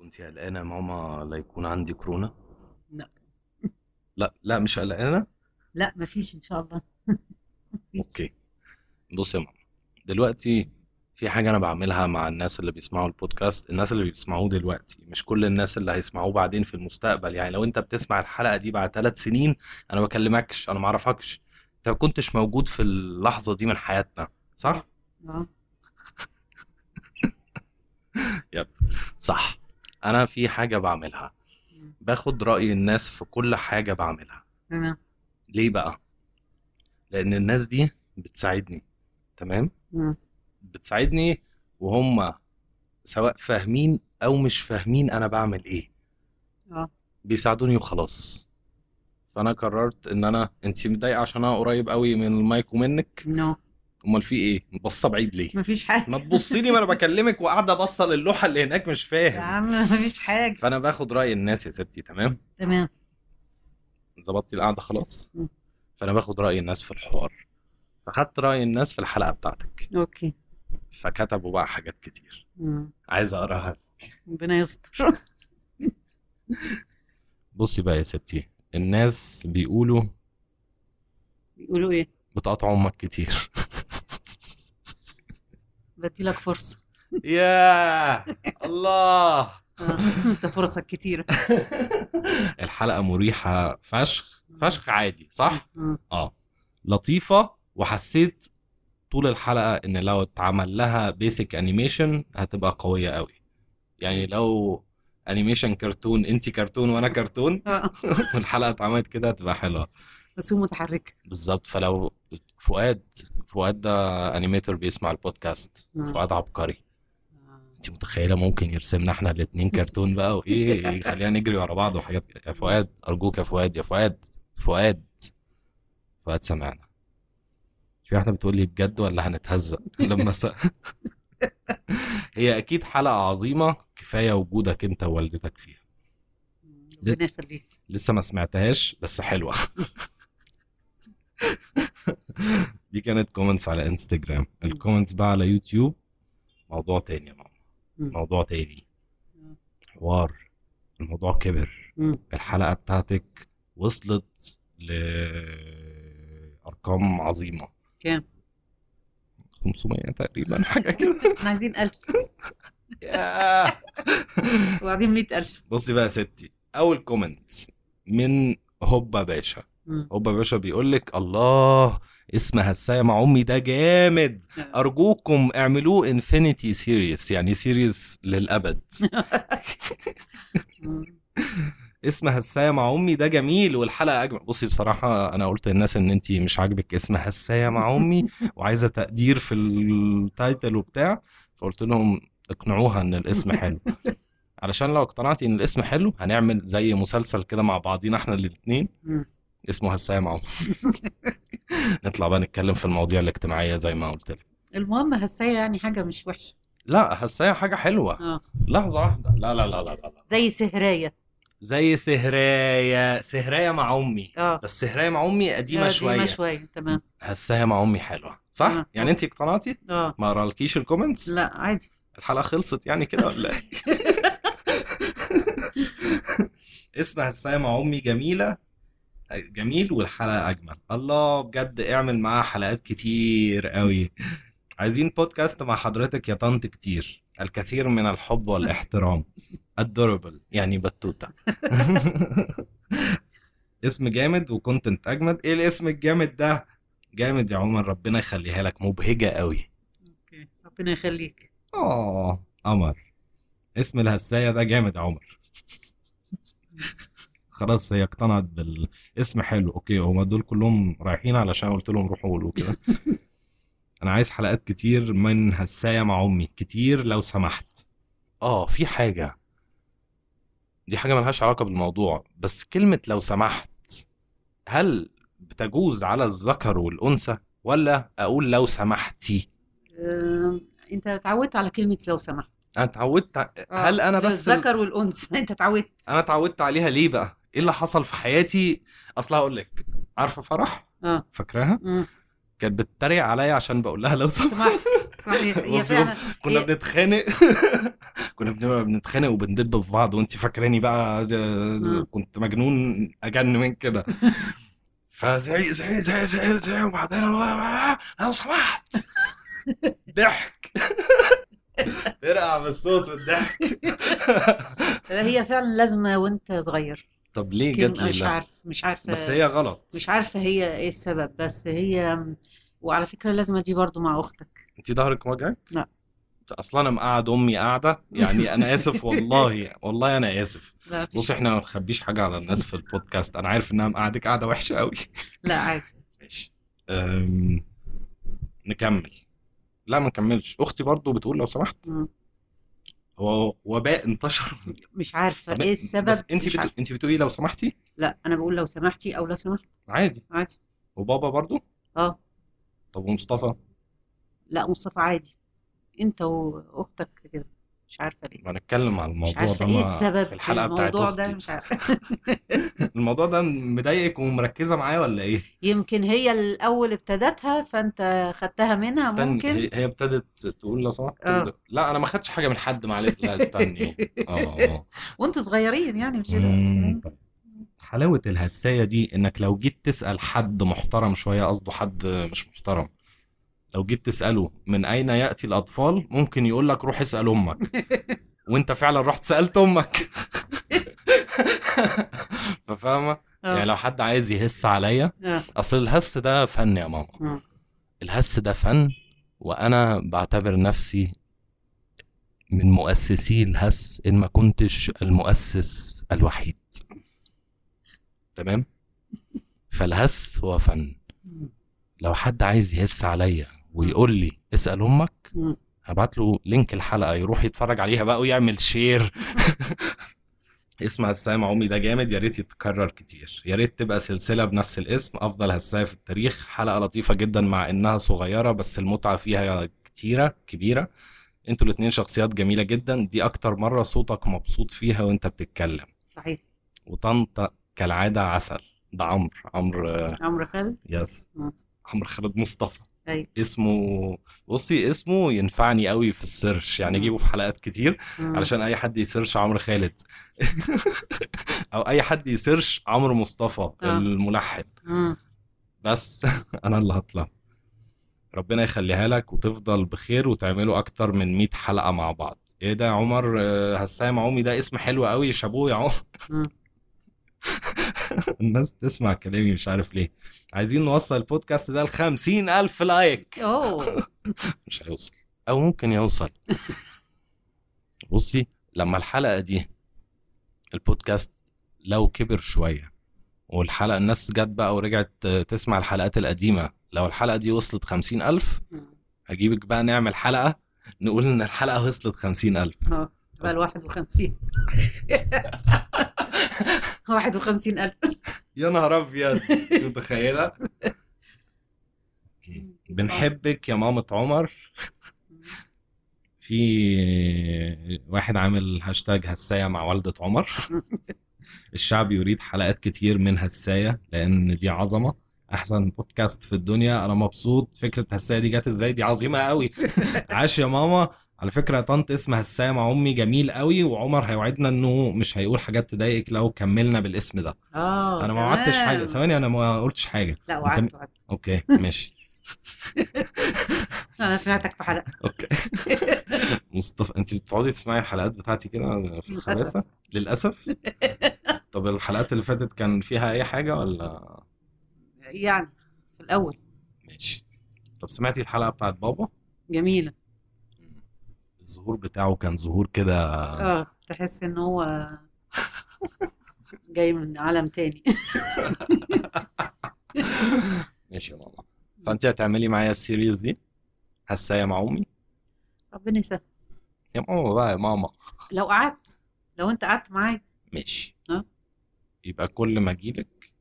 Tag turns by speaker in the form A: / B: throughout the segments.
A: انت قلقانه يا ماما لا يكون عندي كورونا
B: لا
A: لا لا مش قلقانه
B: لا مفيش ان شاء الله
A: اوكي بص يا ماما دلوقتي في حاجه انا بعملها مع الناس اللي بيسمعوا البودكاست الناس اللي بيسمعوه دلوقتي مش كل الناس اللي هيسمعوه بعدين في المستقبل يعني لو انت بتسمع الحلقه دي بعد ثلاث سنين انا ما بكلمكش انا ما اعرفكش انت ما كنتش موجود في اللحظه دي من حياتنا صح
B: اه
A: صح انا في حاجه بعملها باخد راي الناس في كل حاجه بعملها
B: تمام
A: ليه بقى؟ لأن الناس دي بتساعدني تمام؟
B: مم.
A: بتساعدني وهم سواء فاهمين أو مش فاهمين أنا بعمل إيه
B: اه
A: بيساعدوني وخلاص فأنا قررت إن أنا أنت متضايقة عشان أنا قريب قوي من المايك ومنك
B: نو
A: أمال في إيه؟ باصة بعيد ليه؟
B: مفيش حاجه
A: ما تبصي لي ما أنا بكلمك وقاعدة باصة للوحة اللي هناك مش
B: يا
A: فاهم
B: عم مفيش حاجه
A: فأنا باخد رأي الناس يا ستي تمام؟
B: تمام
A: ظبطتي القعده خلاص
B: مم.
A: فانا باخد راي الناس في الحوار فخدت راي الناس في الحلقه بتاعتك
B: اوكي
A: فكتبوا بقى حاجات كتير
B: مم.
A: عايز اقراها
B: آه، ربنا يستر
A: بصي بقى يا ستي الناس بيقولوا
B: بيقولوا ايه
A: بتقطع امك كتير
B: بديلك فرصه
A: يا الله
B: آه. انت فرصك كتيره
A: الحلقه مريحه فشخ فشخ عادي صح
B: مم.
A: اه لطيفه وحسيت طول الحلقه ان لو اتعمل لها بيسك انيميشن هتبقى قويه قوي يعني لو انيميشن كرتون انت كرتون وانا كرتون
B: آه.
A: والحلقه اتعملت كده هتبقى حلوه
B: رسوم متحركه
A: بالظبط فلو فؤاد فؤاد ده انيميتور بيسمع البودكاست
B: نعم.
A: فؤاد عبقري
B: آه.
A: انت متخيله ممكن يرسمنا احنا الاثنين كرتون بقى وايه يخلينا نجري ورا بعض وحاجات كده يا فؤاد ارجوك يا فؤاد يا فؤاد فؤاد فؤاد سمعنا شو احنا بتقول لي بجد ولا هنتهزق لما س... هي اكيد حلقه عظيمه كفايه وجودك انت ووالدتك فيها
B: ربنا يخليك
A: لسه ما سمعتهاش بس حلوه دي كانت كومنتس على انستجرام الكومنتس بقى على يوتيوب موضوع تاني يا ماما
B: مم.
A: موضوع تاني
B: مم.
A: حوار الموضوع كبر
B: مم.
A: الحلقه بتاعتك وصلت لارقام عظيمه
B: كام؟
A: 500 تقريبا حاجه كده
B: احنا عايزين ألف
A: ياه.
B: وبعدين مئة ألف
A: بصي بقى يا ستي اول كومنت من هوبا باشا
B: مم.
A: هوبا يا باشا بيقول لك الله اسم هسايا مع امي ده جامد
B: آه،
A: ارجوكم اعملوه انفينيتي سيريس يعني سيريس للابد
B: مم.
A: اسم هسايا مع امي ده جميل والحلقه اجمل بصي بصراحه انا قلت للناس ان انت مش عاجبك اسم هسايا مع امي وعايزه تقدير في التايتل وبتاع فقلت لهم اقنعوها ان الاسم حلو علشان لو اقتنعتي ان الاسم حلو هنعمل زي مسلسل كده مع بعضينا احنا الاتنين
B: مم.
A: اسمه هسام عمر نطلع بقى نتكلم في المواضيع الاجتماعيه زي ما قلت لك
B: المهم هسايا يعني حاجة مش وحشة
A: لا هسايا حاجه حلوه
B: اه
A: لحظه واحده لا لا لا لا لا
B: زي سهراية
A: زي سهرايه سهرايه مع امي
B: اه
A: بس سهرايه مع امي قديمه
B: آه،
A: شويه
B: شوية تمام
A: هسايا مع امي حلوه صح
B: آه.
A: يعني انت اقتنعتي
B: اه
A: ما قرالكيش الكومنتس
B: لا عادي
A: الحلقه خلصت يعني كده ولا ايه اسم هسايا مع امي جميله جميل والحلقه اجمل الله بجد اعمل معاها حلقات كتير قوي عايزين بودكاست مع حضرتك يا طنط كتير الكثير من الحب والاحترام الدوربل يعني بتوته اسم جامد وكونتنت اجمد ايه الاسم الجامد ده جامد يا عمر ربنا يخليها لك مبهجه قوي
B: اوكي ربنا يخليك
A: اه قمر اسم الهساية ده جامد يا عمر خلاص هي اقتنعت بالاسم حلو اوكي هما دول كلهم رايحين علشان قلت لهم روحوا قولوا كده انا عايز حلقات كتير من هساية مع امي كتير لو سمحت اه في حاجة دي حاجة ملهاش علاقة بالموضوع بس كلمة لو سمحت هل بتجوز على الذكر والأنثى ولا أقول لو سمحتي
B: آه، انت اتعودت على كلمة لو سمحت
A: أنا اتعودت
B: آه،
A: هل أنا بس ال-
B: الذكر والانثى انت اتعودت
A: انا اتعودت عليها ليه بقى إيه ايه اللي حصل في حياتي اصل هقول لك عارفه فرح
B: اه
A: فاكراها
B: مم.
A: كانت بتتريق عليا عشان بقول لها لو سمحت
B: سمحت إيه؟ صحيح هي
A: بصي بصي،
B: فعلا
A: كنا
B: هي-
A: بنتخانق كنا بنبقى بنتخانق وبندب في بعض وانت فاكراني بقى
B: مم.
A: كنت مجنون اجن من كده فزعيق زعيق زعيق زعيق زعيق وبعدين لو سمحت ضحك ترقع بالصوت والضحك
B: لا هي فعلا لازمه وانت صغير
A: طب ليه جت
B: كلمه
A: لي
B: مش
A: اللازمة؟
B: عارف مش عارفه
A: بس هي غلط
B: مش عارفه هي ايه السبب بس هي وعلى فكره اللازمه دي برضو مع اختك
A: انت ظهرك وجعك؟
B: لا.
A: اصلا انا مقعد امي قاعده يعني انا اسف والله والله انا اسف
B: لا مفيش-
A: بص احنا ما نخبيش حاجه على الناس في البودكاست انا عارف انها مقعدك قاعده وحشه قوي
B: لا عادي
A: ماشي أم... نكمل لا ما نكملش اختي برضو بتقول لو سمحت
B: مم.
A: هو وباء انتشر
B: مش عارفه
A: طب
B: ايه السبب
A: بس انت
B: مش عارفة.
A: بت... انت بتقولي لو سمحتي
B: لا انا بقول لو سمحتي او لو سمحت
A: عادي
B: عادي
A: وبابا برضو
B: اه
A: طب ومصطفى
B: لا مصطفى عادي انت واختك كده مش عارفه ليه
A: ما نتكلم على
B: مش
A: الموضوع
B: عارفه
A: ده
B: ايه
A: مع-
B: السبب
A: في
B: في
A: الحلقه بتاعت
B: الموضوع ده
A: اختي
B: مش عارفه
A: الموضوع ده مضايقك ومركزه معايا ولا ايه
B: يمكن هي الاول ابتدتها فانت خدتها منها
A: استني
B: ممكن
A: هي- هي ابتدت تقول لو سمحت
B: اه.
A: تقول- لا انا ما خدتش حاجه من حد معلش لا استني اه
B: وانتوا صغيرين يعني مش
A: مم. حلاوة الهساية دي انك لو جيت تسأل حد محترم شوية قصده حد مش محترم لو جيت تسأله من اين يأتي الاطفال ممكن يقول لك روح اسأل امك وانت فعلا رحت سألت امك ففاهمة
B: آه.
A: يعني لو حد عايز يهس عليا
B: آه.
A: اصل الهس ده فن يا ماما
B: مم.
A: الهس ده فن وانا بعتبر نفسي من مؤسسي الهس ان ما كنتش المؤسس الوحيد تمام فالهس هو فن
B: مم.
A: لو حد عايز يهس عليا ويقول لي اسال امك
B: مم.
A: هبعت له لينك الحلقه يروح يتفرج عليها بقى ويعمل شير اسم هساية مع امي ده جامد يا ريت يتكرر كتير يا ريت تبقى سلسله بنفس الاسم افضل هساية في التاريخ حلقه لطيفه جدا مع انها صغيره بس المتعه فيها كتيره كبيره انتوا الاتنين شخصيات جميله جدا دي اكتر مره صوتك مبسوط فيها وانت بتتكلم
B: صحيح
A: وطنطا كالعاده عسل ده عمرو عمرو
B: عمرو خالد
A: يس
B: مم.
A: عمرو خالد مصطفى
B: أيوة.
A: اسمه بصي اسمه ينفعني قوي في السيرش يعني
B: مم.
A: اجيبه في حلقات كتير
B: مم.
A: علشان اي حد يسيرش عمرو خالد او اي حد يسيرش عمرو مصطفى
B: آه.
A: الملحن
B: مم.
A: بس انا اللي هطلع ربنا يخليها لك وتفضل بخير وتعملوا اكتر من 100 حلقه مع بعض ايه ده يا عمر آه، هساية مع امي ده اسم حلو قوي شابوه يا عمر
B: مم.
A: الناس تسمع كلامي مش عارف ليه عايزين نوصل البودكاست ده ل 50000 لايك
B: اوه
A: مش هيوصل او ممكن يوصل بصي لما الحلقه دي البودكاست لو كبر شويه والحلقه الناس جت بقى ورجعت تسمع الحلقات القديمه لو الحلقه دي وصلت خمسين ألف
B: مم.
A: هجيبك بقى نعمل حلقه نقول ان الحلقه وصلت خمسين ألف
B: اه بقى ال 51 51000
A: يا نهار ابيض انت متخيله بنحبك يا مامة عمر في واحد عامل هاشتاج هساية مع والدة عمر الشعب يريد حلقات كتير من هساية لأن دي عظمة أحسن بودكاست في الدنيا أنا مبسوط فكرة هساية دي جت إزاي دي عظيمة قوي عاش يا ماما على فكرة يا طنط اسم هساية مع أمي جميل قوي وعمر هيوعدنا إنه مش هيقول حاجات تضايقك لو كملنا بالاسم ده
B: اه
A: أنا ما وعدتش حاجة
B: تمام.
A: ثواني أنا ما قلتش حاجة
B: لا وعدت وعدت
A: أوكي ماشي
B: انا سمعتك في حلقه
A: أوكي مصطفى أنت بتقعدي تسمعي الحلقات بتاعتي كده في الخباثة للأسف طب الحلقات اللي فاتت كان فيها أي حاجة ولا
B: يعني في الاول
A: ماشي طب سمعتي الحلقة بتاعت بابا
B: جميله
A: الظهور بتاعه كان ظهور كده
B: اه تحس ان هو جاي من عالم تاني
A: ماشي يا ماما فأنت هتعملي معايا السيريز دي هساية مع أمي
B: ربنا يسهل
A: يا ماما بقى يا ماما
B: لو قعدت لو انت قعدت معايا
A: ماشي
B: ها؟
A: يبقى كل ما أجيلك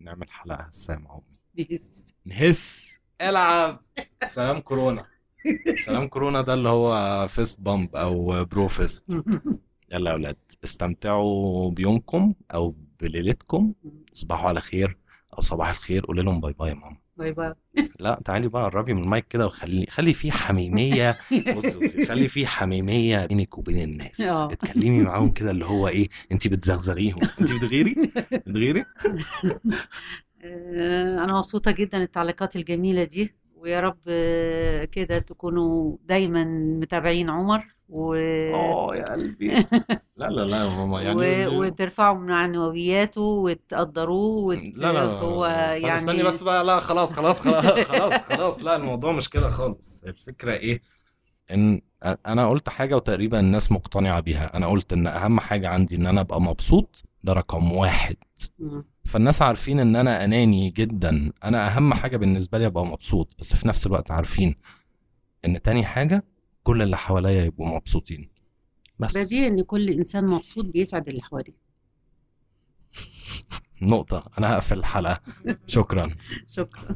A: نعمل حلقة هساية مع أمي
B: بيس.
A: نهس العب سلام كورونا سلام كورونا ده اللي هو فيست بامب او برو فيست يلا يا اولاد استمتعوا بيومكم او بليلتكم تصبحوا على خير او صباح الخير قولوا لهم باي باي يا ماما
B: باي باي
A: لا تعالي بقى قربي من المايك كده وخلي خلي في حميميه بصي بصي خلي في حميميه بينك وبين الناس
B: آه.
A: اتكلمي معاهم كده اللي هو ايه انت بتزغزغيهم انت بتغيري بتغيري
B: آه، انا مبسوطه جدا التعليقات الجميله دي ويا رب آه، كده تكونوا دايما متابعين عمر و...
A: اه يا قلبي لا لا لا يا ماما يعني
B: و... وترفعوا من معنوياته وتقدروه وت...
A: لا لا
B: هو
A: استني,
B: يعني
A: استني بس بقى لا خلاص خلاص خلاص خلاص خلاص لا الموضوع مش كده خالص الفكره ايه ان انا قلت حاجه وتقريبا الناس مقتنعه بيها انا قلت ان اهم حاجه عندي ان انا ابقى مبسوط ده رقم واحد
B: مم.
A: فالناس عارفين ان انا اناني جدا انا اهم حاجه بالنسبه لي ابقى مبسوط بس في نفس الوقت عارفين ان تاني حاجه كل اللي حواليا يبقوا مبسوطين بس
B: بديهي ان كل انسان مبسوط بيسعد اللي حواليه
A: نقطه انا هقفل الحلقه شكرا
B: شكرا